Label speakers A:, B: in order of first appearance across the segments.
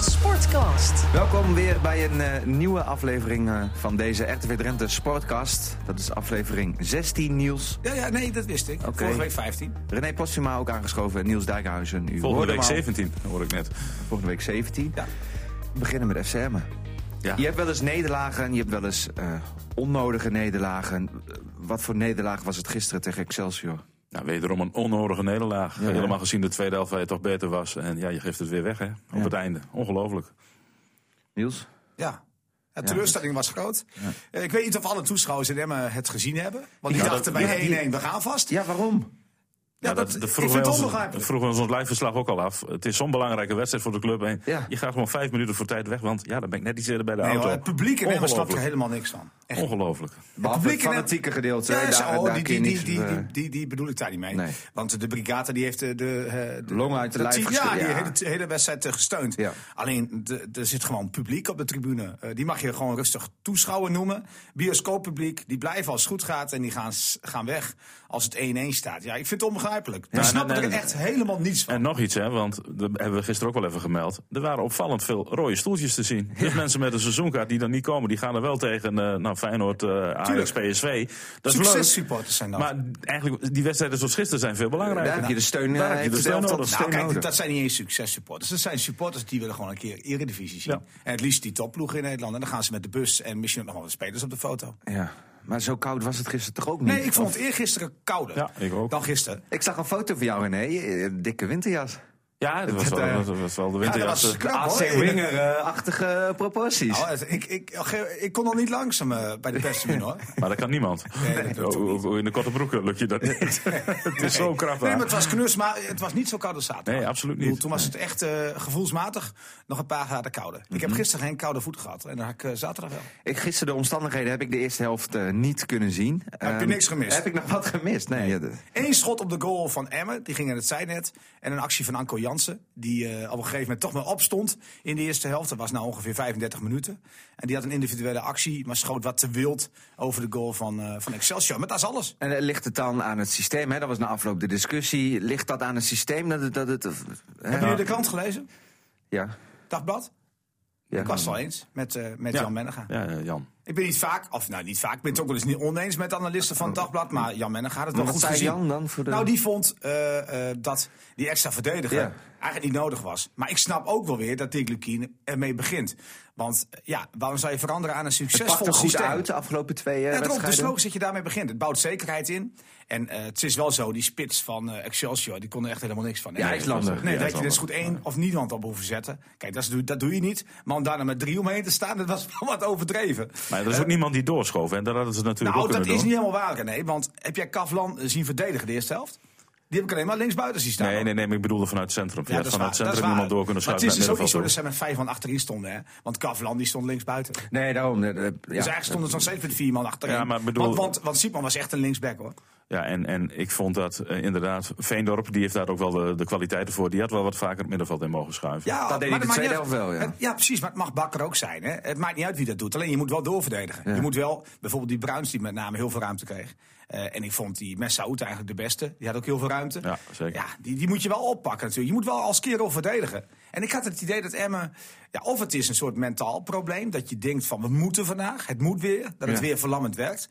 A: Sportcast.
B: Welkom weer bij een eh, nieuwe aflevering eh, van deze RTV Drenthe Sportcast. Dat is aflevering 16, Niels.
C: Ja, ja, nee, dat wist ik.
B: Oké.
C: Vorige week 15.
B: René Postuma ook aangeschoven en Niels Dijkhuizen. U
D: Volgende
B: hoorde
D: week
B: hem al.
D: 17, hoor ik net.
B: Volgende week 17.
C: Ja.
B: We beginnen met FCM.
D: Ja.
B: Je hebt wel eens nederlagen, je hebt wel eens eh, onnodige nederlagen. Eh, Wat voor nederlaag was het gisteren tegen Excelsior?
D: Nou, wederom een onnodige nederlaag.
B: ja.
D: Helemaal gezien de tweede helft waar je toch beter was. En ja, je geeft het weer weg hè, op het einde. Ongelooflijk.
B: Niels?
C: Ja. De teleurstelling was groot. Eh, Ik weet niet of alle toeschouwers in Emmen het gezien hebben. Want die
D: Ja,
C: dachten
D: dat-
C: bij
D: ja,
C: 1-1,
D: die-
C: we gaan vast.
B: Ja, waarom?
C: Ja, dat, ik
D: wij
C: vind het
D: ons-
C: onbegrijpelijk.
D: Nou, vroegen we ons in het liveverslag ook al af. Het is zo'n belangrijke wedstrijd voor de club. En
B: Ja.
D: je gaat gewoon vijf minuten voor tijd weg. Want ja, dan ben ik net iets eerder bij de
C: Nee,
D: auto.
C: hoor, het publiek in Emmen snapt er
D: Ongelooflijk.
C: helemaal niks van. Echt.
D: Ongelooflijk.
B: Behalve het
C: publiek in het-
B: fanatieke gedeelte.
C: Ja,
B: daar,
C: zo, oh,
B: daar
C: die,
B: kun je
C: die, die,
B: niks, eh,
C: die, die, die, die bedoel ik daar niet mee.
B: Nee.
C: Want de brigade die heeft de, de, eh, de
B: Longen uit de lijf
C: team- Ja,
B: geschud,
C: die
B: ja.
C: hele, de hele wedstrijd eh, gesteund.
B: Ja.
C: Alleen, de- er zit gewoon publiek op de tribune. Eh, die mag je gewoon rustig toeschouwer noemen. Bioscooppubliek, die blijven als het goed gaat en die gaan, s- gaan weg als het 1-1 staat. Ja, ik vind het onbegrijpelijk. Daar
D: Ja,
C: snap
D: nee,
C: ik
D: nee.
C: echt helemaal niets van.
D: En nog iets, hè, want dat hebben we gisteren ook wel even gemeld. Er waren opvallend veel rode stoeltjes te zien. Dus mensen met een seizoenkaart die dan niet komen, die gaan er wel tegen eh, nou, Feyenoord, eh Ajax, PSV. Dat is leuk.
C: Successupporters zijn dat.
D: Maar eigenlijk, die wedstrijden zoals gisteren zijn veel
B: Daar
D: belangrijker.
B: heb je de steun,
D: Daar
B: eh,
D: heb je de
B: heeft het
D: steun
B: elftal
D: nodig.
B: steun
C: Nou, kijk,
B: nodig.
C: dat zijn niet eens successupporters. Dat zijn supporters die willen gewoon een keer Eredivisie zien.
D: Ja.
C: En het liefst die topploegen in Nederland. En dan gaan ze met de bus en misschien ook nog wel de spelers op de foto.
B: Ja, maar zo koud was het gisteren toch ook niet?
C: Nee, ik vond
B: Of-
C: het eergisteren kouder
D: Ja, ik ook.
C: dan gisteren.
B: Ik zag een foto van jou, René. Je- eh, Dikke winterjas.
D: Ja, dat was
B: Dat, eh,
D: wel, dat eh, was wel de
C: Ja,
D: winter.
C: dat was knap
B: AC
C: hoor.
B: eh, Winger-achtige proporties.
C: Nou, het- ik, ik, ik, ik kon al niet langzaam eh, bij de perstribune hoor.
D: Maar dat kan niemand.
C: Nee, dat lukt ook
D: Ook- ook oh, in de korte broeken lukt je dat niet. het is zo krap.
C: Nee, maar
D: aan.
C: het was knus, maar het was niet zo koud als zaterdag.
D: Nee, absoluut
C: Ik bedoel,
D: niet.
C: Toen was het echt eh, gevoelsmatig nog een paar graden kouder. Ik
D: Mhm.
C: heb gisteren geen koude voet gehad. En dan had ik eh, zaterdag wel.
B: Ik, gisteren de omstandigheden heb ik de eerste helft eh, niet kunnen zien.
C: je
B: Ehm,
C: niks gemist?
B: Heb ik nog wat gemist? Nee. ja, de-
C: Eén schot op de goal van Emmen, die ging in het zijnet. En een actie van Anko Jansen, die eh, op een gegeven moment toch maar opstond in de eerste helft. Dat was nou ongeveer 35 minuten. En die had een individuele actie, maar schoot wat te wild over de goal van, eh, van Excelsior. Maar dat is alles.
B: En eh, ligt het dan aan het systeem? Hè? Dat was na afloop de discussie. Ligt dat aan het systeem? Dat het, dat het, eh, hè?
C: Hebben jullie de krant gelezen?
B: Ja.
C: Dagblad?
B: ja.
C: Ik was het wel eens met, eh, met Jan Mennega.
D: Ja, ja, Jan.
C: Ik ben niet vaak, of nou niet vaak, ik ben het ook wel eens niet oneens met analisten van het Dagblad. Maar Jan Mennega had het wel
B: Wat
C: goed
B: zei
C: gezien.
B: Jan dan voor de-
C: Nou, die vond eh, eh, dat die extra verdediger
B: Ja.
C: eigenlijk niet nodig was. Maar ik snap ook wel weer dat Dick Lukien ermee begint. Want eh, ja, waarom zou je veranderen aan een
B: Het pakt
C: succesvol
B: er goed
C: systeem?
B: uit de afgelopen twee eh,
C: Ja, daarom, dus
B: wedstrijden.
C: logisch dat je daarmee begint. Het bouwt zekerheid in. En eh, het is wel zo, die spits van eh, Excelsior, die kon er echt helemaal niks van.
B: Die IJslander.
C: Nee, dat had je
D: IJslander.
C: dus goed één of niemand op hoeven zetten. Kijk, dat, is, dat doe je niet. Maar om daar dan met drie omheen te staan, dat was wel wat overdreven.
D: Maar er is ook niemand die doorschoof. En daar hadden ze natuurlijk
C: Eh? Nou,
D: ook
C: dat
D: kunnen
C: is
D: doen.
C: niet helemaal waar, nee. Want heb jij Kavlan eh, zien verdedigen de eerste helft? Die heb ik alleen maar linksbuiten zien staan.
D: Nee, nee, nee, maar ik bedoelde vanuit het centrum. Je
C: Ja,
D: had
C: dat is
D: vanuit
C: waar.
D: het
C: dat is
D: centrum
C: waar.
D: iemand door kunnen
C: Maar
D: schuiven.
C: het is dus
D: naar
C: ook niet zo dat
D: middenveld
C: ze met vijf man achterin stonden, hè? Want Kavlan die stond linksbuiten.
B: Nee, daarom. eh, eh, ja.
C: Dus eigenlijk stonden ze nog steeds met vier man achterin.
D: Ja, maar bedoel-
C: want, want, want Siepman was echt een linksback, hoor.
D: Ja, en, en ik vond dat eh, inderdaad, Veendorp, die heeft daar ook wel de, de kwaliteiten voor. Die had wel wat vaker het middenveld in mogen schuiven.
C: Ja,
B: Dat deed
C: maar
B: hij
C: het
B: de tweede
C: maakt
B: helft wel,
C: niet
B: ja.
C: uit. Het- ja, precies. Maar het mag Bakker ook zijn. Hè. Het maakt niet uit wie dat doet. Alleen je moet wel doorverdedigen. Je moet wel, bijvoorbeeld die Bruins die met name heel veel ruimte kreeg. Eh, en ik vond die Messaoud eigenlijk de beste. Die had ook heel veel ruimte.
D: Ja, zeker.
C: Ja, die, die moet je wel oppakken natuurlijk. Je moet wel als kerel verdedigen. En ik had het idee dat Emmen... Ja, of het is een soort mentaal probleem. Dat je denkt van, we moeten vandaag. Het moet weer. Dat het
B: Ja.
C: weer verlammend werkt.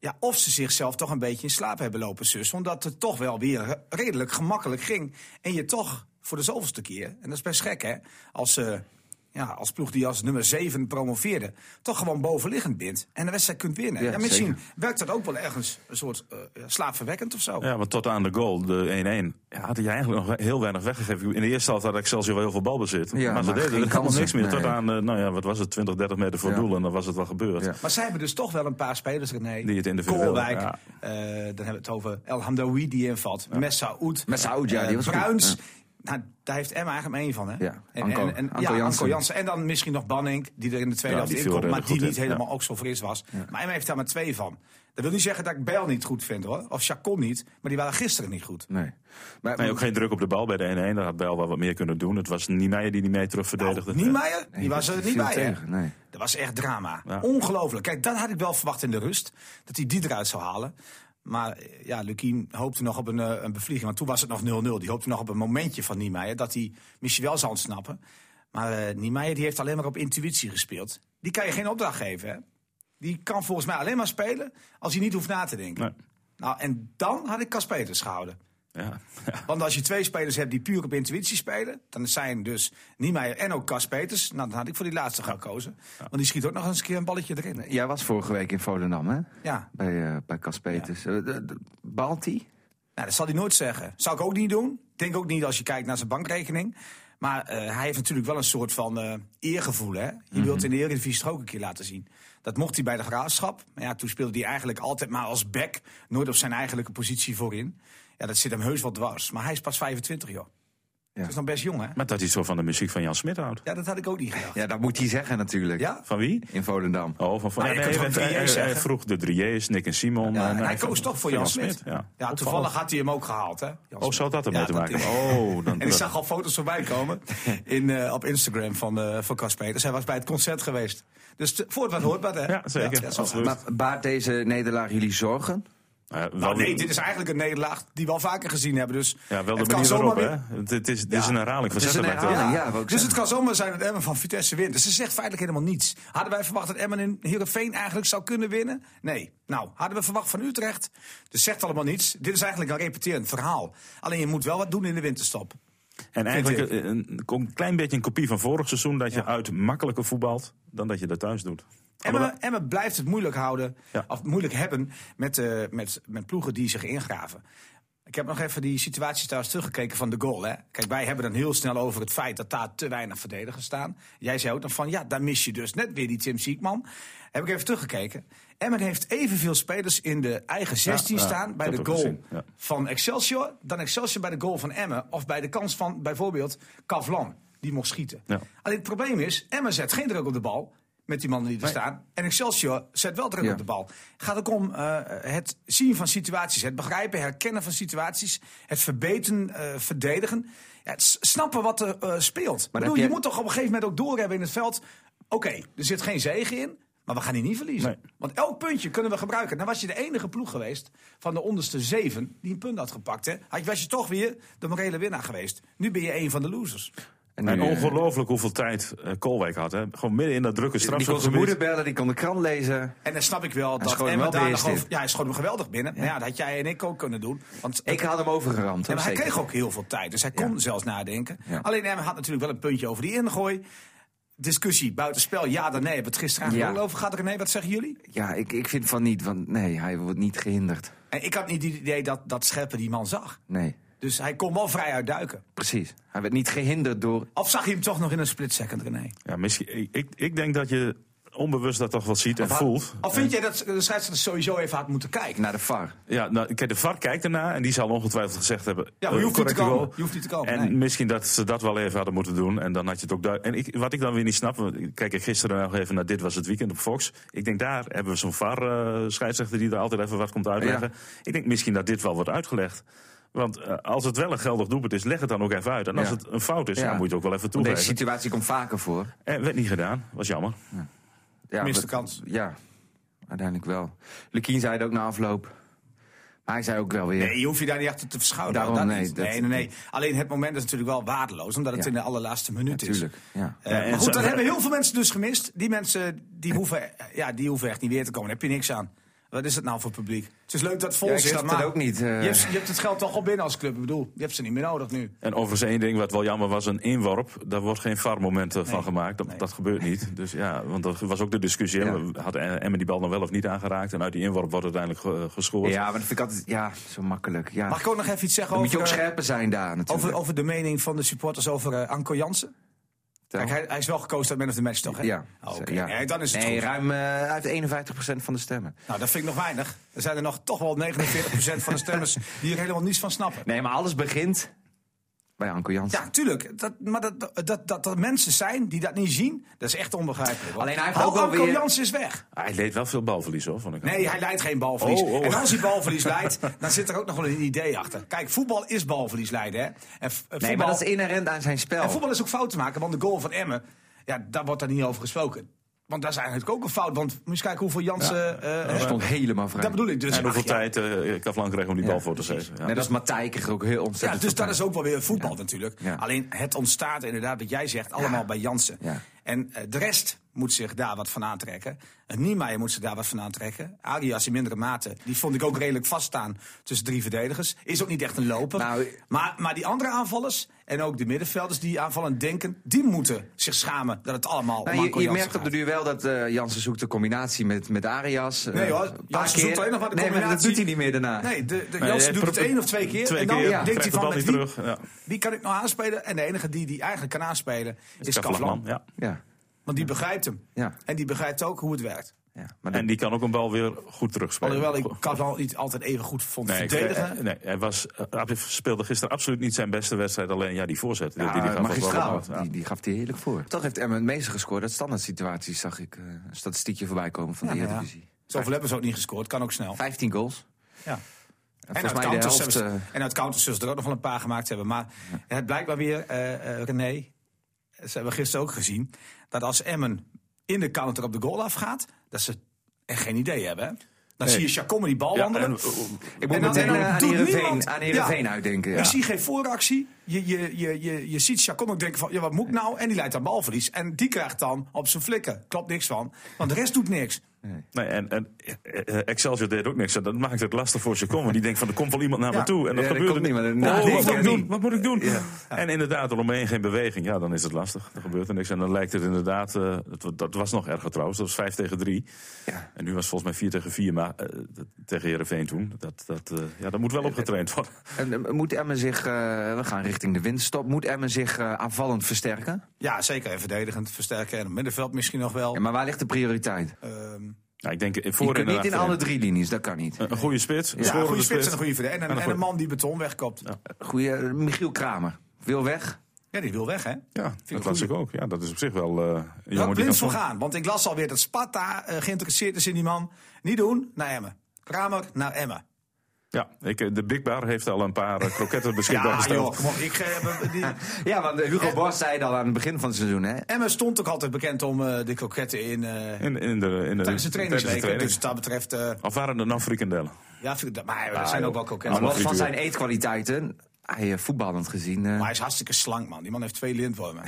C: Ja, of ze zichzelf toch een beetje in slaap hebben lopen zus. Omdat het toch wel weer re- redelijk gemakkelijk ging. En je toch voor de zoveelste keer... En dat is best gek, hè? Als... eh, ja, als ploeg die als nummer 7 promoveerde, toch gewoon bovenliggend bent en de wedstrijd kunt winnen.
B: Ja,
C: Ja, misschien
B: zeker.
C: werkt dat ook wel ergens een soort eh, slaapverwekkend of zo.
D: Ja, want tot aan de goal, de 1-1, ja, had hij eigenlijk nog heel weinig weggegeven. In de eerste helft had Excelsior wel heel veel balbezit.
B: Ja,
D: maar ze
B: maar geen
D: deden er helemaal
B: kansen,
D: niks meer. Tot
B: nee.
D: aan, eh, nou ja, wat was het, 20, 30 meter voor
B: Ja.
D: doel en dan was het wel gebeurd.
B: Ja.
C: Maar zij hebben dus toch wel een paar spelers, René.
D: Die het individueel,
C: Koolwijk,
D: ja.
C: eh, dan hebben we het over El Hamdawi die invalt. Messaoud.
B: Messaoud, ja,
C: eh,
B: die was goed,
C: Bruins.
B: ja.
C: Nou, daar heeft Emma eigenlijk één van, hè?
B: Ja,
C: En,
B: Anko-
C: en, en,
B: Anko
C: ja,
B: Jansen.
C: Anko Jansen. En dan misschien nog Banning, die er in de tweede
D: Ja,
C: helft
D: die
C: in
D: viel
C: komt, maar
D: redelijk
C: die
D: goed
C: niet
D: in,
C: helemaal ook zo fris was. Maar Emma heeft daar maar twee van. Dat wil niet zeggen dat ik Bijl niet goed vind, hoor. Of Chacon niet, maar die waren gisteren niet goed.
B: Nee. Maar,
D: Nee, ook geen druk op de bal bij de 1-1. Daar had Bijl wel wat meer kunnen doen. Het was Niemeyer die die mee terug verdedigde.
C: Nou, Niemeyer, die was er
B: dat
C: niet
B: viel
C: bij, hè?
B: tegen, nee.
C: Dat was echt drama.
D: Ja.
C: Ongelooflijk. Kijk, dat had ik wel verwacht in de rust. Dat hij die eruit zou halen. Maar eh, ja, Lukien hoopte nog op een, eh, een bevlieging. Want toen was het nog 0-0. Die hoopte nog op een momentje van Niemeyer. Dat hij misschien wel zou ontsnappen. Maar uh, Niemeyer die heeft alleen maar op intuïtie gespeeld. Die kan je geen opdracht geven. Hè? Die kan volgens mij alleen maar spelen als hij niet hoeft na te denken.
D: Nee.
C: Nou, en dan had ik Kaspeters gehouden.
D: Ja.
C: Want als je twee spelers hebt die puur op intuïtie spelen, dan zijn dus Niemeyer en ook Kas Peters. Nou, dan had ik voor die laatste gaan gekozen. Want die schiet ook nog eens een keer een balletje erin.
B: Jij was vorige week in Volendam, hè?
C: Ja,
B: Bij, eh, bij Kas Peters. Eh, de- de- baalt hij?
C: nou, dat zal hij nooit zeggen. Zou ik ook niet doen. Denk ook niet als je kijkt naar zijn bankrekening. Maar eh, hij heeft natuurlijk wel een soort van eh, eergevoel. Hè? Je wilt in de Eredivisie toch ook een keer laten zien. Dat mocht hij bij de graafschap. Maar ja, toen speelde hij eigenlijk altijd maar als back. Nooit op zijn eigenlijke positie voorin. Ja, dat zit hem heus wel dwars. Maar hij is pas 25, joh. Dat is nog best jong, hè?
D: Maar dat hij zo van de muziek van Jan Smit houdt.
C: Ja, dat had ik ook niet gedacht.
B: Ja, dat moet hij zeggen natuurlijk.
C: Ja?
D: Van wie?
B: In Volendam.
D: Oh, van, van
C: Nou, je
D: nee,
C: kunt
D: want
C: gewoon
D: hij,
C: drieërs
D: hij
C: zeggen.
D: vroeg de drieërs, Nick en Simon.
C: Ja,
D: en
C: en hij
D: van-
C: koos toch voor
D: van
C: Jan Smit.
D: Ja,
C: Ja, toevallig had hij hem ook gehaald, hè? Jan
D: Oh,
C: Smit.
D: zou dat ermee
C: Ja,
D: te
C: dat-
D: maken hebben? Oh, dan,
C: En ik zag al foto's voorbij komen in, eh, op Instagram van, eh van Cas Peters. Hij was bij het concert geweest. Dus te- voor het wat hoort wat, hè?
D: Ja, zeker.
C: zo gaat het.
D: Absoluut.
B: Maar baart deze nederlaag jullie zorgen?
D: Eh, wel
C: Nou,
D: weer-
C: nee, dit is eigenlijk een nederlaag die we al vaker gezien hebben. Dus
D: ja, wel de
C: het kan
D: manier
C: zomaar
D: waarop,
C: weer-
D: hè? Het, het is, dit is een herhaling van
B: Het is een
D: Zetterberg.
B: herhaling.
D: toch?
B: Ja, ja, wou ik
C: dus het
B: zeggen.
C: kan zomaar zijn dat Emmen van Vitesse wint. Dus ze zegt feitelijk helemaal niets. Hadden wij verwacht dat Emmen in Heerenveen eigenlijk zou kunnen winnen? Nee. Nou, hadden we verwacht van Utrecht? Dus zegt allemaal niets. Dit is eigenlijk een repeterend verhaal. Alleen je moet wel wat doen in de winterstop.
D: En eigenlijk een, een- een klein beetje een kopie van vorig seizoen... dat je uit makkelijker voetbalt dan dat je dat thuis doet. Maar
C: Emmen, Emmen blijft het moeilijk houden,
D: Ja.
C: of moeilijk hebben met, eh, met, met ploegen die zich ingraven. Ik heb nog even die situatie trouwens teruggekeken van de goal. Hè. Kijk, wij hebben dan heel snel over het feit dat daar te weinig verdedigers staan. Jij zei ook dan van, ja, daar mis je dus net weer die Tim Siekman. Heb ik even teruggekeken. Emmen heeft evenveel spelers in de eigen 16
D: Ja, ja,
C: staan bij
D: dat
C: de
D: ook
C: goal
D: gezien, ja.
C: van Excelsior... dan Excelsior bij de goal van Emmen of bij de kans van bijvoorbeeld Kavlan. Die mocht schieten.
D: Ja.
C: Alleen het probleem is, Emmen zet geen druk op de bal met die mannen die er staan. En Excelsior zet wel druk
B: Ja.
C: op de bal. Gaat ook om eh, het zien van situaties, het begrijpen, herkennen van situaties, het verbeteren, eh, verdedigen, ja, het s- snappen wat er eh, speelt. Ik bedoel,
B: heb
C: je
B: jij-
C: moet toch op een gegeven moment ook doorhebben in het veld. Oké, er zit geen zegen in. Maar we gaan die niet verliezen.
D: Nee.
C: Want elk puntje kunnen we gebruiken. Dan was je de enige ploeg geweest van de onderste zeven die een punt had gepakt. Hè. Had je- Was je toch weer de morele winnaar geweest. Nu ben je een van de losers.
B: nu,
D: En
B: eh,
D: ongelooflijk hoeveel tijd eh, Koolwijk had. Hè? Gewoon midden in dat drukke
B: Die kon zijn
D: strafschopgebied.
B: moeder bellen, die kon de krant lezen.
C: En dan snap ik wel dat
B: schoot hem
C: Emma
B: wel
C: daar
B: beheerst
C: nog
B: in.
C: over... Ja, hij schoot hem geweldig binnen. Maar ja, dat had jij en ik ook kunnen doen. Want
B: Ik had hem overgeramd.
C: Ja,
B: hoor,
C: maar hij
B: zeker.
C: kreeg ook heel veel tijd, dus hij kon zelfs nadenken.
B: Ja.
C: Alleen Emma had natuurlijk wel een puntje over die ingooi. Discussie buitenspel, ja dan nee. Hebben we het gisteren eigenlijk
B: Ja.
C: wel over gehad. René, wat zeggen jullie?
B: Ja, ik, ik vind van niet, want nee, hij wordt niet gehinderd.
C: En ik had niet het idee dat, dat Scheppen die man zag.
B: Nee,
C: Dus hij kon wel vrij uitduiken.
B: precies. Hij werd niet gehinderd door...
C: Of zag je hem toch nog in een split second, René?
D: Ja, misschien, ik- ik, ik denk dat je onbewust dat toch wel ziet en voelt.
C: Of vind jij dat de scheidsrechter sowieso even had moeten kijken?
B: Naar de VAR.
D: Ja, nou, kijk, de VAR kijkt ernaar en die zal ongetwijfeld gezegd hebben...
C: Ja, maar je
D: eh,
C: hoeft niet te
D: correcte
C: komen.
D: goal.
C: Je hoeft niet te komen,
D: En
C: nee.
D: misschien dat ze dat wel even hadden moeten doen. En dan had je het ook duidelijk. En ik, wat ik dan weer niet snap, want ik kijk er gisteren nog even naar Dit Was Het Weekend op Fox. Ik denk, daar hebben we zo'n VAR-scheidsrechter eh, die er altijd even wat komt uitleggen. Ik denk misschien dat dit wel wordt uitgelegd. Want eh, als het wel een geldig doelpunt is, leg het dan ook even uit. En als
B: Ja.
D: het een fout is,
B: Ja.
D: dan moet je het ook wel even
B: Deze
D: toegeven.
B: situatie komt vaker voor.
D: En werd niet gedaan, was jammer.
B: Ja,
C: Minste
B: wat-
C: kans.
B: Ja, uiteindelijk wel. Lukien zei het ook na afloop. Maar hij zei ook wel weer...
C: Nee, je hoeft je daar niet achter te verschuilen.
B: Daarom,
C: dat
B: nee,
C: niet.
B: dat-
C: nee, nee, nee. Alleen het moment is natuurlijk wel waardeloos, omdat het
B: Ja.
C: in de allerlaatste minuut is.
B: natuurlijk. Ja.
C: Eh,
D: Ja, en
C: maar goed,
D: zo-
C: dat hebben heel veel mensen dus gemist. Die mensen die hoeven, eh, ja, die hoeven echt niet weer te komen. Daar heb je niks aan. Wat is het nou voor publiek? Het is leuk dat het vol
B: Ja, ik
C: zit,
B: snap
C: maar
B: dat ook niet, eh.
C: je, hebt, je hebt het geld toch al binnen als club. Ik bedoel, je hebt ze niet meer nodig nu.
D: En overigens één ding wat wel jammer was, een inworp. Daar wordt geen VAR-moment eh, van gemaakt. Dat, dat gebeurt niet. Dus ja, want dat was ook de discussie. hè.
B: Ja.
D: Had eh, Emmen die bal nou wel of niet aangeraakt? En uit die inworp wordt uiteindelijk ge- eh, gescoord.
B: ja, maar dat vind ik altijd... Ja, zo makkelijk. Ja.
C: Mag ik ook nog even iets zeggen
B: Dan moet je
C: over,
B: ook
C: eh,
B: scherper zijn daar natuurlijk.
C: over, over de mening van de supporters over eh, Anko Jansen?
B: Tel.
C: Kijk, hij, hij is wel gekozen uit Man of the Match, toch? Hè?
B: Ja.
C: Oh, Oké,
B: ja.
C: Nee, dan is het
B: nee,
C: goed.
B: ruim... eh, hij heeft 51% van de stemmen.
C: Nou, dat vind ik nog weinig. Er zijn er nog toch wel 49% van de stemmers die er helemaal niets van snappen.
B: Nee, maar alles begint bij Anko Jansen.
C: Ja, tuurlijk. Dat, maar dat, dat, dat, dat er mensen zijn die dat niet zien, dat is echt onbegrijpelijk. hoor.
B: Alleen hij heeft
C: Hou
B: ook wel
C: Anko
B: weer-
C: Jansen is weg.
D: Hij leed wel veel balverlies hoor, vond ik.
C: Nee, hij leidt geen balverlies.
D: Oh, oh.
C: En als hij balverlies leidt, dan zit er ook nog wel een idee achter. Kijk, voetbal is balverlies leiden, hè. En, v- eh,
B: Nee,
C: voetbal-
B: maar dat is inherent aan zijn spel.
D: Oh.
C: en voetbal is ook fout te maken, want de goal van Emmen, ja, daar wordt daar niet over gesproken. Want dat is eigenlijk ook een fout. Want moet je eens kijken hoeveel Jansen... eh,
B: Hij
C: hè,
B: stond helemaal vrij.
C: dat bedoel ik dus.
D: en hoeveel
C: Ach, ja.
D: tijd eh Kavlan kreeg om die
B: Ja,
D: bal voor te zetten. Ja.
B: Net als Matthijs kreeg ook heel
C: Ja,
B: ontzettend
C: dus
B: veel
C: dat is ook wel weer voetbal natuurlijk.
B: Ja.
C: Alleen het ontstaat inderdaad, wat jij zegt, allemaal bij Jansen.
B: Ja.
C: En eh, de rest moet zich daar wat van aantrekken. En Niemeyer moet zich daar wat van aantrekken. Arias in mindere mate. Die vond ik ook redelijk vaststaan tussen drie verdedigers. Is ook niet echt een loper.
B: Nou,
C: maar, maar die andere aanvallers en ook de middenvelders die aanvallend denken... die moeten zich schamen dat het allemaal
B: Nou,
C: om
B: je,
C: Anko
B: je
C: Jansen
B: merkt op de
C: gaat.
B: duur wel dat eh Jansen zoekt de combinatie met, met Arias. Eh,
C: Nee hoor,
B: een paar
C: Jansen zoekt
B: keer.
C: alleen nog maar de
B: Nee, maar dat
C: combinatie.
B: doet hij niet meer daarna.
C: Nee, de, de Jansen
D: Nee, hij
C: doet het
D: probeert
C: één of twee keer.
D: Twee
C: en dan
D: keer
B: ja,
C: denkt
D: krijgt
C: hij
D: de
C: van
D: bal
C: met
D: niet
C: wie,
D: terug. Ja.
C: wie kan ik nou aanspelen? En de enige die die eigenlijk kan aanspelen is,
D: Kavlan,
C: Kavlan.
D: ja.
B: Ja,
C: Want die begrijpt hem.
B: ja,
C: En die begrijpt ook hoe het werkt.
B: ja. Maar
D: En die kan ook een bal weer goed terugspelen.
C: Alhoewel ik
D: Go-
C: Kavlan niet altijd even goed vond
D: Nee, ik-
C: verdedigen.
D: eh, nee, hij was, eh, hij speelde gisteren absoluut niet zijn beste wedstrijd. Alleen ja, die voorzet. die-
B: ja,
D: die, die gaf
B: magistraal,
D: ook wel wat,
B: die,
D: ja.
B: die gaf hij heerlijk voor. Toch heeft Emmen het meeste gescoord uit standaard situaties, zag ik eh, een statistiekje voorbij komen van de
C: Ja, nou ja.
B: Eredivisie.
C: Zoveel hebben ze ook niet gescoord. Kan ook snel.
B: 15 goals.
C: Ja.
B: En
C: En
B: volgens
C: uit,
B: mij de
C: counters
B: helft...
C: hebben
B: eh,
C: ze- en uit counters zullen ze er ook nog wel een paar gemaakt hebben. Maar het blijkt maar weer, eh, eh, René, ze hebben gisteren ook gezien... dat als Emmen in de counter op de goal afgaat... dat ze echt geen idee hebben. hè. Dan
D: Nee.
C: zie je Chacon met die bal
D: Ja,
C: wandelen.
D: en, eh,
B: ik moet
C: en dan-
B: meteen
C: en dan
B: eh, aan
C: doet
B: Heerenveen-
C: niemand-
B: aan Heerenveen uitdenken. Ja.
C: Je ziet geen vooractie. Je, je, je, je, je ziet Chacon ook denken van, ja, wat moet ik nou? En die leidt aan balverlies. En die krijgt dan op zijn flikken. Klopt niks van. Want de rest doet niks.
D: Nee, en, en eh, eh, Excelsior deed ook niks. En Dat maakt het lastig voor Chacon. Want die denkt van, er komt wel iemand naar
C: Ja.
D: me toe. En dat
B: Ja, er
D: gebeurt
B: komt
D: er niet.
B: niemand. Nou,
D: Oh,
B: nee,
D: wat, moet ik
B: nee.
D: doen? wat moet ik doen? En inderdaad, eromheen geen beweging. Ja, dan is het lastig. Er gebeurt er niks. En dan lijkt het inderdaad... eh, het wa- dat was nog erger trouwens. Dat was 5 tegen 3.
B: Ja.
D: En nu was het volgens mij 4 tegen 4. Maar eh, dat- tegen Heerenveen toen. Dat, dat, eh, ja, dat moet wel opgetraind worden.
B: En, eh, moet Emmen zich, eh, we gaan richting de winststop, moet Emmen zich eh, aanvallend versterken?
C: Ja, zeker. En verdedigend versterken. En op middenveld misschien nog wel.
B: Ja, maar waar ligt de prioriteit?
C: Ehm,
D: Ja, ik denk eh,
B: Je
D: voor
B: kunt
D: en
B: niet in
D: achterin.
B: alle drie linies, dat kan niet.
D: Een goede spits. Een
C: ja, een
D: scorende
C: goede spits en een goede verdediger. En, een-
D: En een
C: en een
D: goede-
C: man die beton wegkopt. Ja.
B: Goeie, eh, Michiel Kramer, wil weg.
C: die wil weg, hè?
D: Ja, dat las ik ook. Ja, dat is op zich wel eh, een
C: Laat
D: jongen die kan
C: blind voor
D: scoren.
C: gaan. Want ik las alweer dat Sparta eh, geïnteresseerd is in die man. Niet doen, naar Emmen. Kramer, naar Emmen.
D: Ja, ik, eh, de Big Bar heeft al een paar eh, kroketten beschikbaar
C: Ja,
D: gesteld.
C: joh. kom op. Ik, eh, die,
B: Ja, want eh, Hugo Borst zei het al aan het begin van het seizoen, hè?
C: Emmen stond ook altijd bekend om eh, de kroketten in... eh,
D: In, in de, in de,
C: Tijdens de trainingsweken.
D: training.
C: Dus wat dat betreft. eh,
D: Of waren er nou frikandellen?
C: ja, vind ik dat- maar er zijn ook wel
B: Maar
C: koketten.
D: allemaal
B: los van
D: frituur.
B: zijn eetkwaliteiten, hij eh, voetballend gezien. eh,
C: Maar hij is hartstikke slank, man. Die man heeft twee lintwormen.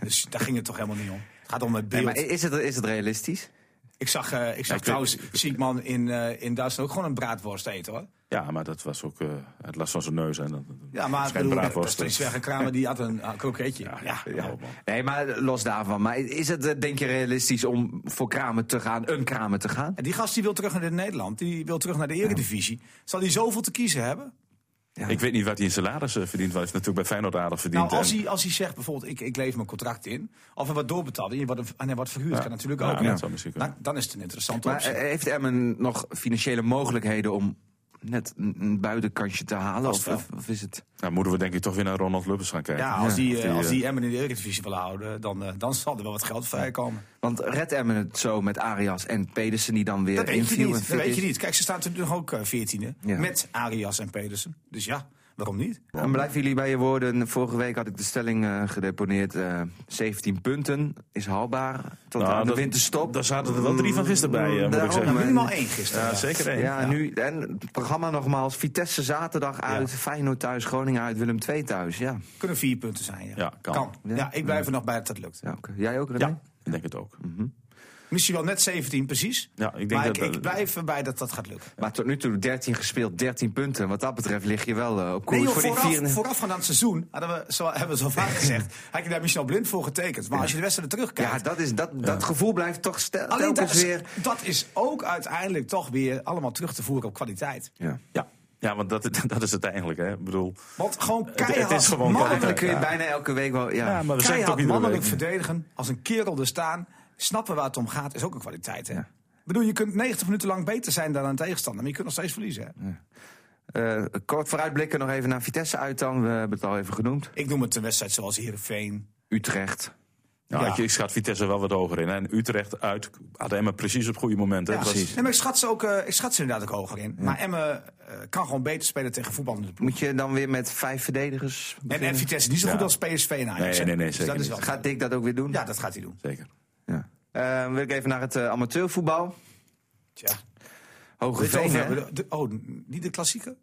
C: dus daar ging het toch helemaal niet om. Het gaat om het
B: nee,
C: beeld.
B: maar is het, is het realistisch?
C: ik zag, eh, ik zag
D: ik
C: trouwens Siekman in, eh, in Duitsland ook gewoon een braadworst eten, hoor.
D: Ja, maar dat was ook eh, het last van zijn neus. En dat,
C: Ja, maar
D: dat
C: ik
D: is geen
C: bedoel, dat is
D: braadworst. dus.
C: die zwergenkramer die had een eh, kroketje.
D: Ja,
C: Ja,
D: ja,
C: ja.
D: man.
B: Nee, maar eh, los daarvan. Maar is het, eh, denk je, realistisch om voor Kramer te gaan, een Kramer te gaan?
C: En die gast die wil terug naar Nederland. Die wil terug naar de Eredivisie. Zal hij zoveel te kiezen hebben?
B: Ja.
D: Ik weet niet wat hij in salaris eh, verdient. Want hij heeft natuurlijk bij Feyenoord aardig verdiend.
C: Nou, als
D: en-
C: hij, als hij zegt bijvoorbeeld, ik, ik leef mijn contract in. Of hij wordt doorbetaald en je wordt, en hij wordt verhuurd. Kan natuurlijk
D: Ja,
C: ook.
D: dat
C: hè.
D: zou misschien
C: Nou,
D: kunnen.
C: dan is het een interessante
B: Maar
C: optie.
B: eh, heeft Emmen nog financiële mogelijkheden om net een, een buitenkansje te halen?
C: Vast
B: Of,
C: wel.
B: of- of is het...
D: Nou, moeten we denk ik toch weer naar Ronald Lubbers gaan kijken.
C: Ja, als
B: Ja,
C: die,
D: of
C: eh,
D: die,
C: als
D: eh,
C: die Emmen in de Eredivisie willen houden, dan, eh, dan zal er wel wat geld vrijkomen.
B: Want redt Emmen het zo met Arias en Pedersen die dan weer
C: Dat weet je
B: inviel en
C: niet. Dat
B: fit
C: weet je
B: is?
C: niet. Kijk, ze staan natuurlijk nog ook eh, 14e.
B: Ja.
C: Met Arias en Pedersen. Dus ja, waarom niet?
B: En blijven jullie bij je woorden? Vorige week had ik de stelling eh, gedeponeerd. eh, 17 punten is haalbaar tot
D: Nou,
B: aan de
D: dat-
B: winterstop.
D: Daar zaten er wel drie van gisteren bij, eh, moet
B: Daarom,
D: ik zeggen.
B: Maar-
C: Nou, Minimaal één gisteren.
D: Ja, zeker één.
B: Ja, Nu, en het programma nogmaals. Vitesse zaterdag uit, Feyenoord thuis, Groningen uit, Willem II thuis. Ja,
C: Kunnen vier punten zijn. Ja,
D: Ja, kan.
C: Ja, ik blijf er nog bij dat dat lukt.
B: ja oké. jij ook René?
D: Ja, ik denk het ook. Mhm.
C: Misschien wel net 17 precies.
D: Ja, ik denk
C: maar
D: dat-
C: ik, ik blijf erbij dat dat gaat lukken.
B: Maar tot nu toe 13 gespeeld, 13 punten. Wat dat betreft lig je wel eh, op koers
C: Nee, joh,
B: voor die
C: vooraf,
B: vier...
C: vooraf van dat seizoen hadden we, zo, hebben we zo vaak gezegd, had je daar misschien al blind voor getekend. Maar als je de wedstrijden terugkijkt,
B: Ja, dat, is, dat, dat gevoel blijft toch stel,
C: alleen dat
B: telkens
C: is,
B: weer...
C: dat is ook uiteindelijk toch weer allemaal terug te voeren op kwaliteit.
B: Ja.
D: Ja, ja want dat, dat is het eigenlijk. Hè. Ik bedoel,
C: Want gewoon
D: het
C: keihard
D: is
B: Dan
D: gewoon
C: mannelijk,
D: kwaliteit.
B: kun je
D: Ja.
B: bijna elke week wel... Ja.
D: ja, maar we zeggen het ook
C: keihard
D: iedere
C: mannelijk
D: week.
C: verdedigen, als een kerel er staan, snappen waar het om gaat, is ook een kwaliteit. Hè?
B: Ja.
C: Ik bedoel, je kunt 90 minuten lang beter zijn dan een tegenstander, maar je kunt nog steeds verliezen. Hè?
B: Eh, kort vooruitblikken nog even naar Vitesse uit dan. We hebben het al even genoemd.
C: Ik noem het een wedstrijd zoals Heerenveen.
B: Utrecht.
D: Nou,
C: Ja.
D: ik- Ik schat Vitesse wel wat hoger in. hè. En Utrecht uit had Emmen precies op goede momenten.
C: Ja,
D: Het was-
C: Nee, maar ik schat ze, ook, eh, ik schat ze inderdaad ook hoger in. Maar Emmen eh, kan gewoon beter spelen tegen voetballende ploegen.
B: Moet je dan weer met vijf verdedigers
C: En,
B: beginnen?
C: en Vitesse niet zo goed
D: Ja.
C: als PSV en Ajax.
D: Nee,
C: hè?
D: nee, nee,
C: Dus
D: zeker
C: dat is
D: niet.
C: wel-
B: Gaat Dick dat ook weer doen?
C: Ja, dat gaat hij doen.
D: Zeker.
B: Ja. Eh, wil ik even naar het eh, amateurvoetbal.
C: Tja.
B: Hogeveen,
C: Dit
B: hè?
C: over- de- oh, niet de klassieke?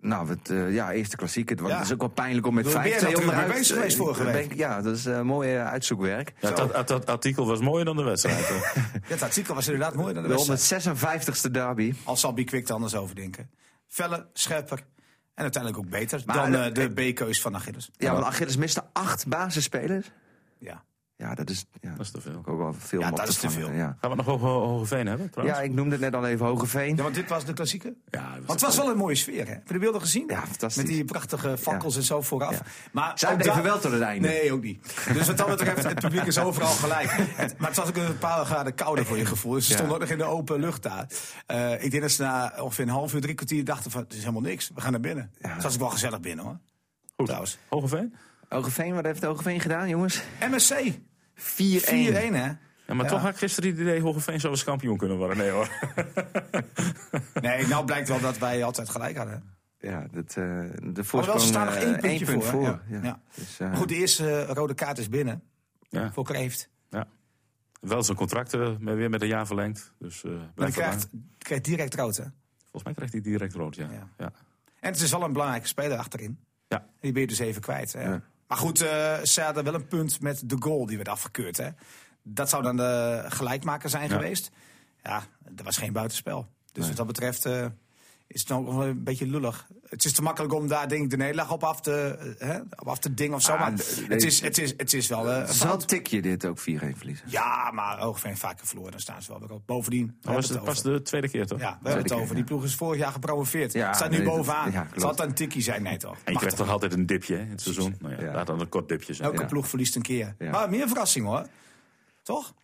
B: Nou, het, eh, ja, eerste klassiek. Het was
C: Ja.
B: is ook wel pijnlijk om met
C: Daar ben
B: 5
C: jij
B: 2
C: natuurlijk mee
B: onderuit.
C: bezig
B: eh,
C: geweest vorige
B: ben
C: week.
B: ik- Ja, dat is eh, mooi eh, uitzoekwerk.
D: Ja, dat, dat- dat artikel was mooier dan de wedstrijd. hè.
C: Dat artikel was inderdaad mooi. Dan de wedstrijd.
B: De 156e derby.
C: Al zal Bikwik er anders over denken. Felle, scherper en uiteindelijk ook beter
B: Maar
C: dan
B: dat-
C: eh, de B-keus van Achilles.
B: Ja, want Achilles miste acht basisspelers.
C: Ja.
B: Ja, dat is, ja,
D: Dat is te veel.
B: ook wel veel.
C: Ja,
B: om op
C: dat
B: te
C: is te
B: vangen,
C: veel.
B: Ja.
D: Gaan we het nog over Hogeveen hebben
B: ja,
D: trouwens?
B: ik noemde het net al even Hogeveen.
C: ja, want dit was de klassieke.
D: Ja,
C: Want het was wel een mooie sfeer, hè? Heb je de beelden gezien?
B: Ja, fantastisch.
C: Met die prachtige fakkels en zo vooraf.
B: Ja.
C: Maar
B: Zij
C: ook
B: bleven
C: daar-
B: wel tot het einde.
C: Nee, ook niet. Dus wat dat betreft, het publiek is overal gelijk. Het- maar het was ook een paar graden kouder voor je gevoel. Dus ze stonden ook nog in de open lucht daar. Eh, ik denk dat ze na ongeveer een half uur, drie kwartier dachten van... het is helemaal niks, we gaan naar binnen. Dus dat was ook wel gezellig binnen, hoor.
D: Goed.
C: trouwens.
D: Hogeveen?
B: Hogeveen, wat heeft Hogeveen gedaan, jongens? 4-1.
C: MSC, 4-1, hè?
D: Ja, maar toch had ik gisteren het idee Hogeveen zou eens kampioen kunnen worden. Nee hoor.
C: Nee, nou blijkt wel dat wij altijd gelijk hadden.
B: Ja, dat, eh de
C: Maar wel
B: voorsprong
C: ze staan nog
B: eh,
C: één puntje
B: punt
C: voor,
B: voor.
C: hè?
B: Ja.
C: Ja. Ja.
B: Dus, eh,
C: Maar Goed, de eerste eh, rode kaart is binnen
D: Ja.
C: voor Kreeft.
D: Ja. Wel zijn contract eh, met- weer met een jaar verlengd. Dus eh,
C: Maar die
D: blijft
C: krijgt,
D: erbij.
C: krijgt direct rood, hè?
D: Volgens mij krijgt hij direct rood, ja.
C: Ja.
D: ja. ja.
C: En het is wel een belangrijke speler achterin.
D: Ja.
C: Die ben je dus even kwijt. Hè?
B: Ja.
C: Maar goed, eh ze hadden wel een punt met de goal die werd afgekeurd. Hè? Dat zou dan de gelijkmaker zijn
D: Ja.
C: geweest. Ja, er was geen buitenspel. Dus wat dat betreft eh, is het nou ook wel een beetje lullig. Het is te makkelijk om daar denk ik, de nederlaag op af te, eh, hè, op af te dingen of zo.
B: Ah,
C: maar
B: nee,
C: het, is, het, is, het is wel eh, een
B: Zal
C: fout.
B: tikje dit ook 4-1 verliezen?
C: Ja, maar Hoogveen vaker verloren, dan staan ze wel weer op. Bovendien, we
D: Dat
C: hebben
D: was
C: het
D: het pas
C: over.
D: de tweede keer toch?
C: Ja, we hebben het
B: keer,
C: over.
B: ja.
C: Die ploeg is vorig jaar gepromoveerd.
B: Ja,
C: Staat nu
B: nee, dat-
C: bovenaan.
B: ja,
C: Het
B: klopt.
C: Zal een tikkie zijn, nee toch?
D: En je
C: Mag
D: krijgt
C: toch?
D: toch altijd een dipje hè, in het seizoen? Nou ja,
B: Ja.
D: laat dan een kort dipje zijn.
C: Elke
B: Ja.
C: ploeg verliest een keer.
B: Ja.
C: Maar meer verrassing hoor. Toch?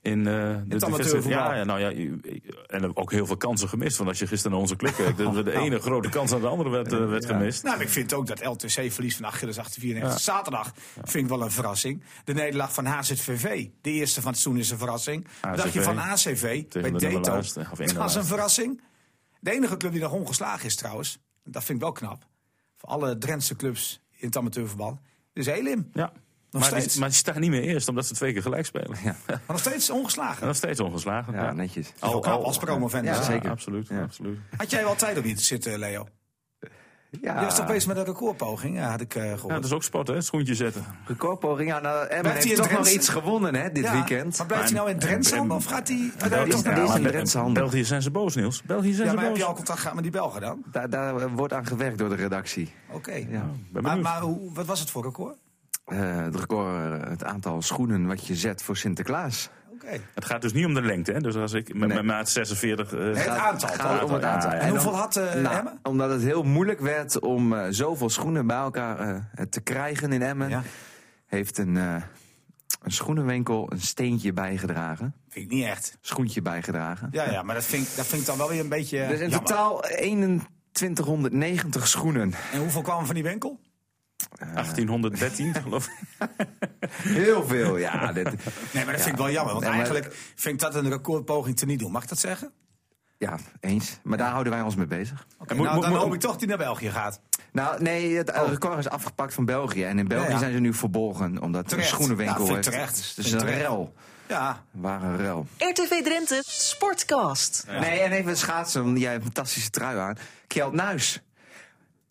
D: In eh de diverse,
C: amateurvoetbal.
D: ja, ja, nou ja, je- je- en ook heel veel kansen gemist. Want als je gisteren naar onze club kijkt, de, de ene grote kans aan de andere werd, eh, werd gemist.
C: Nou, maar ik vind ook dat LTC verlies van Achilles 1894. Zaterdag vind ik wel een verrassing. De nederlaag van HZVV. De eerste van het seizoen is een verrassing. Wat dacht je van ACV bij
D: de
C: Deto?
D: nummerlaatste, of
C: dat was
D: inderlaatste.
C: een verrassing. De enige club die nog ongeslagen is trouwens. Dat vind ik wel knap. Voor alle Drentse clubs in het amateurverband. Dus Elim.
D: Ja. Maar
C: steeds.
D: die, maar die staan niet meer eerst, omdat ze twee keer gelijk spelen. Ja.
C: Maar nog steeds ongeslagen.
D: En nog steeds ongeslagen.
B: Ja, netjes.
C: Al, knap als promovendus.
B: Oh, Ja,
D: Ja,
B: zeker.
D: Absoluut,
B: Ja.
D: absoluut.
C: Had jij wel tijd om hier te zitten, Leo?
B: Ja,
C: Je was toch bezig met een recordpoging? Ja, had ik eh, gehoord.
D: Ja, dat is ook sport, hè? Schoentje zetten.
B: Recordpoging. Ja, nou, Emmen
C: Blijft hij in
B: heeft toch nog
C: Drenthe?
B: iets gewonnen hè, dit
C: Ja,
B: weekend.
C: Maar blijft hij nou in Drenthe
D: en-
C: dan? Of gaat hij
B: België-
C: uiteindelijk
B: Ja,
C: toch
B: maar
C: naar
B: in
D: Be-
B: Drentse handen.
D: België zijn ze boos, Niels. België zijn
C: Ja,
D: ze
C: maar heb
D: boos.
C: je al contact gehad met die Belgen dan?
B: Daar, daar wordt aan gewerkt door de redactie.
C: Oké.
B: Ja.
D: ben
C: maar
D: benieuwd.
C: maar hoe, wat was het voor record?
B: Eh, het record, eh, het aantal schoenen wat je zet voor Sinterklaas.
C: Oké.
D: Het gaat dus niet om de lengte, hè? Dus als ik met mijn maat 46... eh,
C: Het
D: gaat-
C: aantal. toch?
B: gaat om het
D: ja,
B: aantal.
D: ja.
C: En,
B: En
C: hoeveel
B: dan-
C: had eh
B: Nou,
C: Emmen?
B: omdat het heel moeilijk werd om eh, zoveel schoenen bij elkaar eh, te krijgen in Emmen,
C: Ja.
B: heeft een, eh, een schoenenwinkel een steentje bijgedragen.
C: Vind ik niet echt.
B: Schoentje bijgedragen.
C: Ja, ja maar dat vind, ik- dat vind ik dan wel weer een beetje eh,
B: dus in
C: jammer.
B: totaal 2190 schoenen.
C: En hoeveel kwamen van die winkel?
D: 1813, geloof ik.
B: Heel veel, ja. Dit,
C: Nee, maar dat vind ik wel jammer. Want
B: Nee, maar-
C: eigenlijk vind ik dat een recordpoging te niet doen. Mag ik dat zeggen?
B: ja, eens. Maar daar houden wij ons mee bezig.
C: Oké.
D: moet-
C: nou,
D: moet-
C: dan
D: moet-
C: hoop ik toch die naar België gaat.
B: Nou, nee, het eh, record is afgepakt van België. En in België
C: Ja, ja.
B: zijn ze nu verborgen, omdat de
C: Terecht. Ja,
B: schoenenwinkel
C: vind ik
B: heeft...
C: terecht.
B: Dus het
C: Vind
B: is
C: ik
B: een
C: terecht.
B: rel.
C: Ja,
B: Waar een rel.
A: RTV Drenthe Sportcast.
B: Nee, en even schaatsen, want jij hebt een fantastische trui aan. Kjeld Nuis.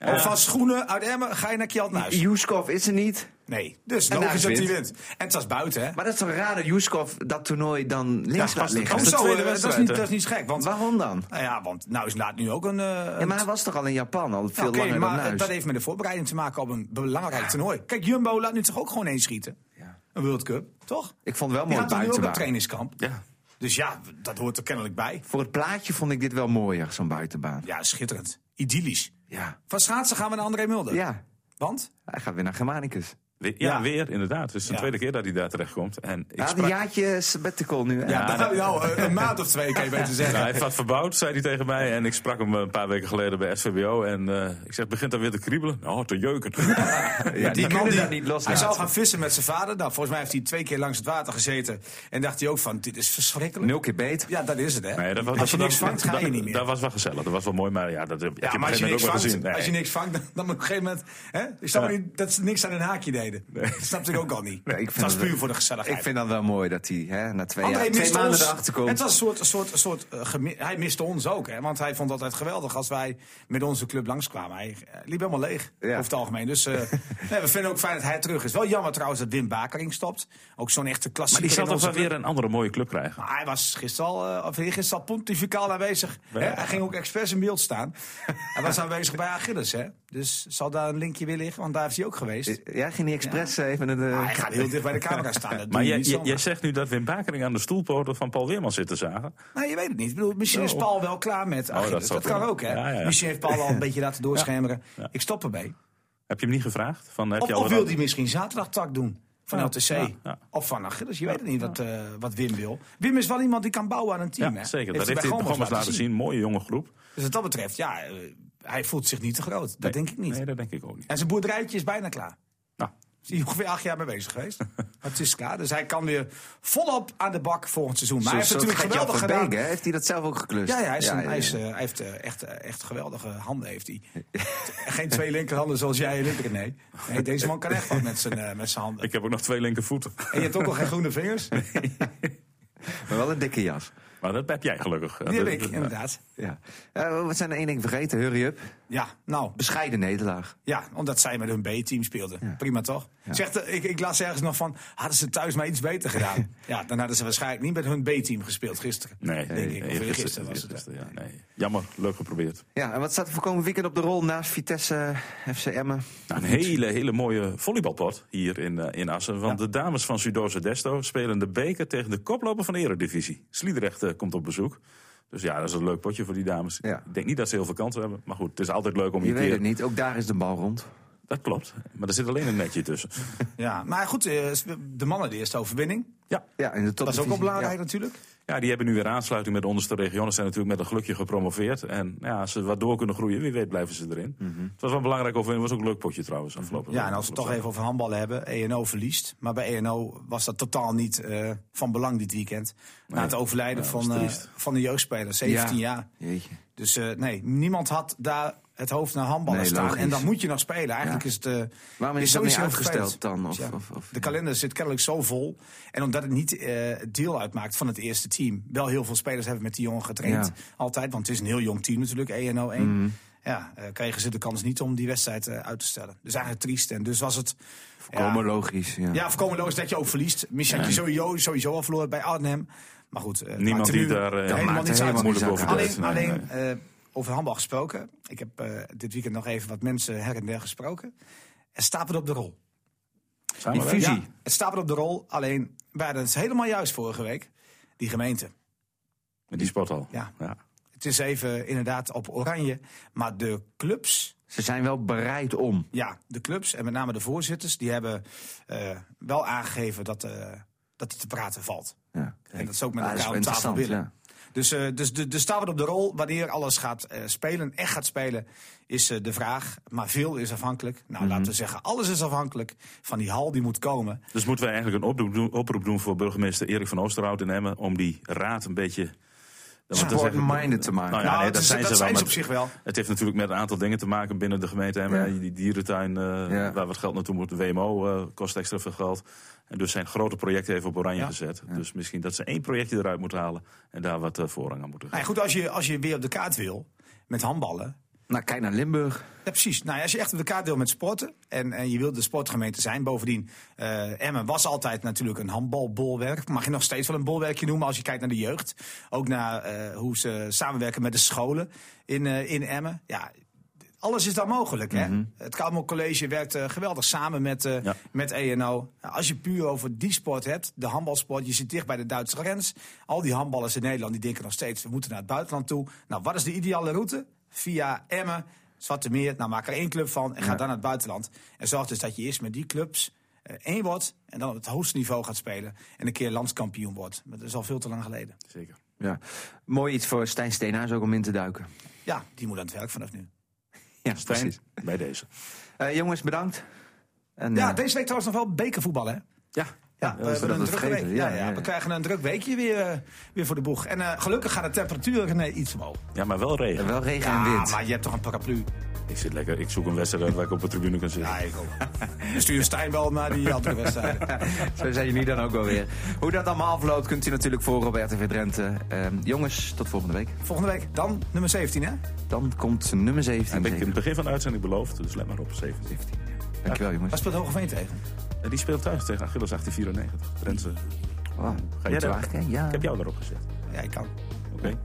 C: Of van schoenen uit Emmen ga je naar Kjeldnuis.
B: Juskov is er niet.
C: Nee, dus
B: En
C: logisch
B: daar
C: dat
B: is
C: hij
B: wit.
C: wint. En het was buiten, hè?
B: Maar dat is toch raar dat Juskov dat toernooi dan links
D: Ja,
B: laat
D: pas-
B: liggen?
D: pas-
C: Oh,
D: de
C: zo,
D: tweede
C: eh, dat, is
D: wedstrijd,
C: niet,
D: hè?
C: dat is niet gek. Want,
B: Waarom dan?
C: nou ja, want nou is laat nu ook een... eh,
B: Ja, maar hij was toch al een Japan, al veel
C: nou, oké,
B: langer
C: maar
B: dan Ah. Nuis.
C: dat heeft met de voorbereiding te maken op een belangrijk toernooi. Kijk, Jumbo laat nu toch ook gewoon eens schieten?
B: Ja.
C: Een World Cup, toch?
B: Ik vond het wel
C: Die
B: mooi
C: gaat toch nu ook op
B: buitenbaan.
C: trainingskamp?
D: Ja.
C: Dus ja, dat hoort er kennelijk bij.
B: Voor het plaatje vond ik dit wel mooier, zo'n buitenbaan.
C: Ja, schitterend. Idyllisch.
B: Ja.
C: Van schaatsen gaan we naar André Mulder.
B: Ja,
C: Want?
B: hij gaat weer naar Germanicus.
D: We- ja,
C: Ja.
D: weer inderdaad. Het is de
C: Ja.
D: tweede keer dat hij daar terechtkomt. En ik
B: Hij had een
D: sprak-
B: jaartje sabbatical nu. hè?
C: Ja, nou, nou, eh, een maand of twee kan je beter zeggen.
D: Nou, hij heeft wat verbouwd, zei hij tegen mij. En ik sprak hem een paar weken geleden bij SVBO. En eh, ik zeg, begint dat weer te kriebelen? Nou, te jeuken.
B: Ja, die, kunnen dat niet
C: hij
B: loslaten.
C: zou gaan vissen met zijn vader. Nou, volgens mij heeft hij twee keer langs het water gezeten. En dacht hij ook van, dit is verschrikkelijk.
B: Nul keer beet.
C: Ja, dat is het, hè.
D: Nee, dat was,
C: Als je
D: dat-
C: niks
D: dat-
C: vangt, ga
D: dat-
C: je niet meer.
D: Dat was wel gezellig, dat was wel mooi. Maar ja, dat heb ik
C: Ja, maar
D: op een
C: als je,
D: gegeven
C: niks
D: moment ook wel gezien.
C: vangt,
D: Nee.
C: als je niks vangt, dan, dan op een gegeven moment. Hè, ik snap
D: Ja.
C: niet dat ze niks aan hun haakje deden. reden. Dat snapte ik ook al niet.
B: Nee, ik vind
C: het was
B: dat-
C: puur voor de
B: Ik
C: gezelligheid.
B: vind dat wel mooi dat hij hè, na twee,
C: André
B: jaar, twee
C: miste
B: maanden
C: ons.
B: erachter
C: Het
B: komt.
C: was een soort, een soort, een soort eh, gemi- hij miste ons ook, hè? want hij vond het altijd geweldig als wij met onze club langskwamen. Hij eh, liep helemaal leeg,
B: Ja.
C: over het algemeen. Dus eh, nee, we vinden ook fijn dat hij terug is. Wel jammer trouwens dat Wim Bakering stopt. Ook zo'n echte
D: Maar
C: klassieker.
D: die zal
C: in
D: toch
C: onze
D: wel
C: club.
D: weer een andere mooie club krijgen.
C: Maar hij was gisteren al, eh, of gisteren al pontificaal aanwezig. Hè? Hij ging ook expres in beeld staan. hij was aanwezig bij Achilles, hè? Dus zal daar een linkje weer liggen, want daar is hij ook geweest.
B: Ja, ging hij expres eh, even... De,
C: Maar hij gaat heel dicht bij de camera staan. Dat
D: Maar
C: doe je
D: jij,
C: niet
D: jij,
C: zomaar.
D: jij zegt nu dat Wim Bakering aan de stoelpoten van Paul Weerman zit te zagen.
C: Nou, je weet het niet. Ik bedoel, misschien is
D: Oh.
C: Paul wel klaar met Achilles.
D: dat
C: dat
D: zou
C: kan
D: kunnen.
C: ook, hè?
D: Ja, ja.
C: Misschien heeft Paul al een beetje laten doorschemeren. Ik stop erbij.
D: Heb je hem niet gevraagd? Van, heb
C: Of,
D: je
C: of
D: al
C: wil
D: wat-
C: hij misschien zaterdag tak doen? Van
D: Ja,
C: LTC.
D: ja, ja.
C: Of van Achilles. Je weet het niet wat, eh, wat Wim wil. Wim is wel iemand die kan bouwen aan een team,
D: Ja,
C: hè?
D: zeker.
C: bij
D: Dat heeft hij in
C: Gommers
D: programma's laten zien. Mooie jonge groep.
C: Dus wat dat betreft, ja, eh, hij voelt zich niet te groot. Dat denk ik niet.
D: Nee, dat denk ik ook niet.
C: En zijn boerderijtje is bijna klaar.
D: Nou,
C: Is hij ongeveer acht jaar mee bezig geweest. maar het is klaar. Dus hij kan weer volop aan de bak volgend seizoen. Maar hij heeft natuurlijk geweldig gedaan.
B: Heeft hij dat zelf ook geklust?
D: Dus
C: Ja, ja, hij, is een, hij, is,
B: ja.
C: eh, hij heeft eh, echt, eh, echt geweldige handen. Heeft hij. Geen twee linkerhanden zoals jij en ik. Nee. nee, deze man kan echt wat met zijn, eh, met zijn handen.
D: ik heb ook nog twee linkervoeten.
C: En je hebt ook al geen groene vingers? Die
B: Maar wel een dikke jas.
D: Maar dat heb jij gelukkig. Ja,
C: heb
D: dat-
C: ik,
D: dat-
C: inderdaad.
B: Ja. Eh, we zijn er één ding vergeten, hurry up.
C: Ja, nou,
B: Bescheiden nederlaag.
C: ja, omdat zij met hun B-team speelden. Prima toch? Zegt, eh, ik, ik las ergens nog van, hadden ze thuis maar iets beter gedaan? ja, dan hadden ze waarschijnlijk niet met hun B-team gespeeld gisteren.
D: Nee,
C: denk ik. Of
D: eergisteren-
C: eergisteren was het.
D: eergisteren, ja, nee. Jammer, leuk geprobeerd.
B: Ja, en wat staat er voor komend weekend op de rol naast Vitesse, FC Emmen?
D: Nou, een hele, hele mooie volleybalpot hier in, eh, in Assen. Want de dames van Sudoze Desto spelen de beker tegen de koploper van de Eredivisie. Sliedrecht eh, komt op bezoek. Dus ja, dat is een leuk potje voor die dames.
B: Ja.
D: Ik denk niet dat ze heel veel kansen hebben. Maar goed, het is altijd leuk om
B: Je
D: je
B: weet
D: keer...
B: het niet, ook daar is de bal rond.
D: Dat klopt. Maar er zit alleen een netje tussen.
C: Ja, maar goed, eh, de mannen de eerste overwinning.
D: Ja.
B: Ja, in de top
C: Dat is ook wel belangrijk natuurlijk.
D: ja, die hebben nu weer aansluiting met de onderste regionen. Zijn natuurlijk met een gelukje gepromoveerd. En ja, als ze wat door kunnen groeien, wie weet blijven ze erin. Het was wel belangrijk over. Het was ook een leuk potje trouwens afgelopen
C: Mhm. Ja, en als we het toch even over handballen hebben. ENO verliest. Maar bij ENO was dat totaal niet eh, van belang dit weekend. Na het overlijden
D: Ja, dat is
C: van, eh,
D: triest.
C: van de jeugdspeler, 17 jaar.
B: Jeetje.
C: Dus eh, nee, niemand had daar het hoofd naar handballen
B: Nee,
C: staan.
B: logisch.
C: En dan moet je nog spelen. Eigenlijk
B: Ja.
C: is het... eh,
B: Waarom is dat
C: sowieso
B: niet uitgesteld
C: vervelend.
B: dan? Of-
C: Ja.
B: of- of-
C: de kalender zit kennelijk zo vol. En omdat het niet eh, deel uitmaakt van het eerste team. Wel heel veel spelers hebben met die jongen getraind.
B: Ja. Mhm.
C: Altijd, want het is een heel jong team natuurlijk, ENO 1. Ja, eh, kregen ze de kans niet om die wedstrijd eh, uit te stellen. Dus eigenlijk triest. En dus was het...
B: Komen
C: ja,
B: logisch, ja.
C: ja, voorkomen logisch dat je ook verliest. Misschien had je sowieso, sowieso al verloren bij Arnhem. Maar goed, eh,
D: Niemand
C: maakt er
D: die
C: nu
D: daar, eh, Dat
C: helemaal
B: maakt er
C: niets uit.
B: helemaal
D: moeilijk
B: niets
D: over
B: uit.
D: deed.
C: Alleen,
D: Nee,
C: alleen
D: nee.
C: eh, over handbal gesproken. Ik heb eh, dit weekend nog even wat mensen her en der gesproken. Het stapelt op de rol.
D: Samen
B: Die
D: werken.
B: fusie.
C: Ja, het stapelt op de rol. Alleen, wij hadden het helemaal juist vorige week. Die gemeente.
D: Met die sport al.
C: Ja.
D: ja.
C: Het is even inderdaad op oranje. Maar de clubs,
B: Ze zijn wel bereid om.
C: ja, de clubs en met name de voorzitters, die hebben eh, wel aangegeven dat, eh, dat het te praten valt.
B: Ja.
C: En dat is ook met
B: Ah, dat is
C: elkaar
B: wel
C: op tafel
B: interessant,
C: willen.
B: ja.
C: Dus, eh, dus de, de staat op de rol wanneer alles gaat eh, spelen, echt gaat spelen, is eh, de vraag. Maar veel is afhankelijk. Nou,
D: Mhm.
C: laten we zeggen, alles is afhankelijk van die hal die moet komen.
D: Dus moeten wij eigenlijk een oproep doen, oproep doen voor burgemeester Erik van Oosterhout in Emmen... om die raad een beetje... Want dat is eigenlijk-
B: Sport-minded te maken.
D: Nou ja,
C: nou,
D: nee,
C: het
D: dat
C: is-
D: zijn
C: dat
D: ze wel.
C: zijn ze
D: maar
C: op zich wel.
D: Het heeft natuurlijk met een aantal dingen te maken binnen de gemeente Emmen.
B: Ja.
D: Die dierentuin, eh,
B: Ja.
D: waar wat geld naartoe moet. De WMO eh, kost extra veel geld. En dus zijn grote projecten even op oranje
C: Ja.
D: gezet. Dus misschien dat ze één projectje eruit moeten halen... en daar wat eh, voorrang aan moeten
C: Nou, ja,
D: geven.
C: goed, als je, als je weer op de kaart wil met handballen.
B: Nou, kijk naar Limburg.
C: Ja, precies. Nou, ja, als je echt op de kaart wil met sporten en, en je wilt de sportgemeente zijn. Bovendien, eh, Emmen was altijd natuurlijk een handbalbolwerk. Mag je nog steeds wel een bolwerkje noemen als je kijkt naar de jeugd. Ook naar eh, hoe ze samenwerken met de scholen in, eh, in Emmen. Ja, alles is daar mogelijk. Hè? Het Kalmo College werkt eh, geweldig samen met, eh,
D: Ja.
C: met ENO. Nou, Als je puur over die sport hebt, de handbalsport, je zit dicht bij de Duitse grens. Al die handballers in Nederland die denken nog steeds, we moeten naar het buitenland toe. Nou, wat is de ideale route? Via Emmen, Zwarte Meer. Nou, maak er één club van en ga dan naar het buitenland. En zorg dus dat je eerst met die clubs eh, één wordt en dan op het hoogste niveau gaat spelen. En een keer landskampioen wordt. Maar dat is al veel te lang geleden.
D: Zeker.
B: Ja. Mooi iets voor Stijn Steenhuis ook om in te duiken.
C: Ja, die moet aan het werk vanaf nu.
B: Ja,
D: Stijn,
B: precies.
D: bij deze.
B: Eh, jongens, bedankt. En,
C: Ja,
B: eh,
C: deze week trouwens nog wel bekervoetbal, hè?
D: Ja,
C: Ja, we
B: dat
C: hebben een
B: het
C: drukke
B: vergeten.
C: week.
B: Ja,
C: Ja, ja,
B: ja, ja.
C: We krijgen een druk weekje weer, eh, weer voor de boeg. En eh, gelukkig gaat de temperatuur eh, iets omhoog.
D: Ja, maar wel regen.
B: Wel regen
C: Ja,
B: en wind.
C: maar je hebt toch een paraplu?
D: Ik zit lekker. Ik zoek een wedstrijd uit waar ik op de tribune kan zitten.
C: Ja, ik ook. Dan Stuur Stijn wel naar die andere wedstrijden.
B: Zo zijn jullie dan ook wel weer. Hoe dat allemaal afloopt, kunt u natuurlijk voor op RTV Drenthe. Ehm, jongens, tot volgende week.
C: Volgende week dan nummer 17, hè?
B: Dan komt nummer 17.
D: Heb ik in
B: zeker.
D: het begin van de uitzending beloofd, dus let maar op, 17.
B: Dankjewel,
C: Waar
B: jongens.
C: speelt Hogeveen tegen?
D: En Eh, die speelt thuis tegen Achilles 1894. Drenthe,
B: Wow.
D: ga jij
B: Moeten we
D: daar?
B: eigenlijk, hè? Ja.
D: Ik heb jou erop gezet.
C: Ja, ik kan.
D: Oké.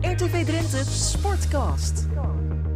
A: RTV Drenthe Sportcast.